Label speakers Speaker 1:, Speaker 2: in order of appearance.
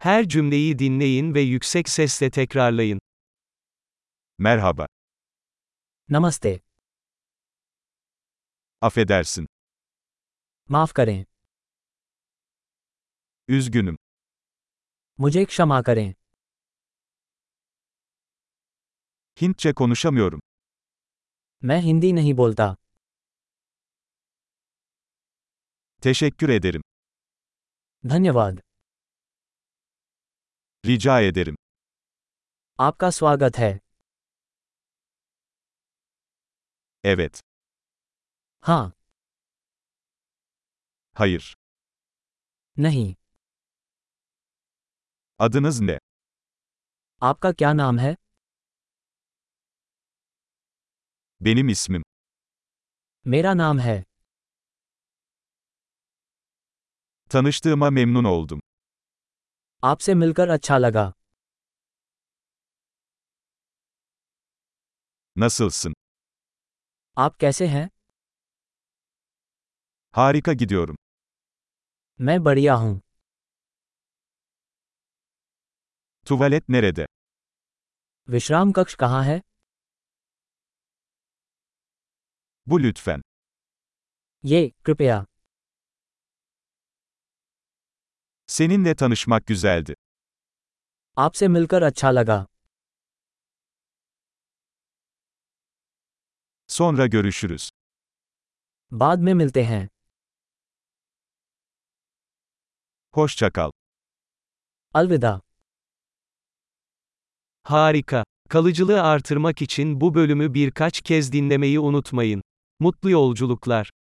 Speaker 1: Her cümleyi dinleyin ve yüksek sesle tekrarlayın.
Speaker 2: Merhaba.
Speaker 3: नमस्ते
Speaker 2: Affedersin.
Speaker 3: माफ करें
Speaker 2: Üzgünüm.
Speaker 3: मुझे क्षमा करें
Speaker 2: Hintçe konuşamıyorum.
Speaker 3: मैं हिंदी नहीं बोलता
Speaker 2: Teşekkür ederim.
Speaker 3: धन्यवाद
Speaker 2: Rica ederim.
Speaker 3: आपका स्वागत है
Speaker 2: Evet.
Speaker 3: हाँ
Speaker 2: Hayır.
Speaker 3: नहीं
Speaker 2: Adınız ne?
Speaker 3: आपका क्या नाम है
Speaker 2: Benim ismim.
Speaker 3: मेरा नाम है
Speaker 2: Tanıştığıma memnun oldum.
Speaker 3: आपसे मिलकर अच्छा लगा
Speaker 2: Nasılsın?
Speaker 3: आप कैसे हैं
Speaker 2: Harika gidiyorum.
Speaker 3: मैं बढ़िया हूँ
Speaker 2: Tuvalet nerede?
Speaker 3: विश्राम कक्ष कहाँ है
Speaker 2: Bu lütfen.
Speaker 3: ये कृपया
Speaker 2: Seninle tanışmak güzeldi.
Speaker 3: आपसे मिलकर अच्छा लगा
Speaker 2: Sonra görüşürüz.
Speaker 3: बाद में मिलते हैं
Speaker 2: Hoşça kal.
Speaker 3: अलविदा
Speaker 1: Harika. Kalıcılığı artırmak için bu bölümü birkaç kez dinlemeyi unutmayın. Mutlu yolculuklar.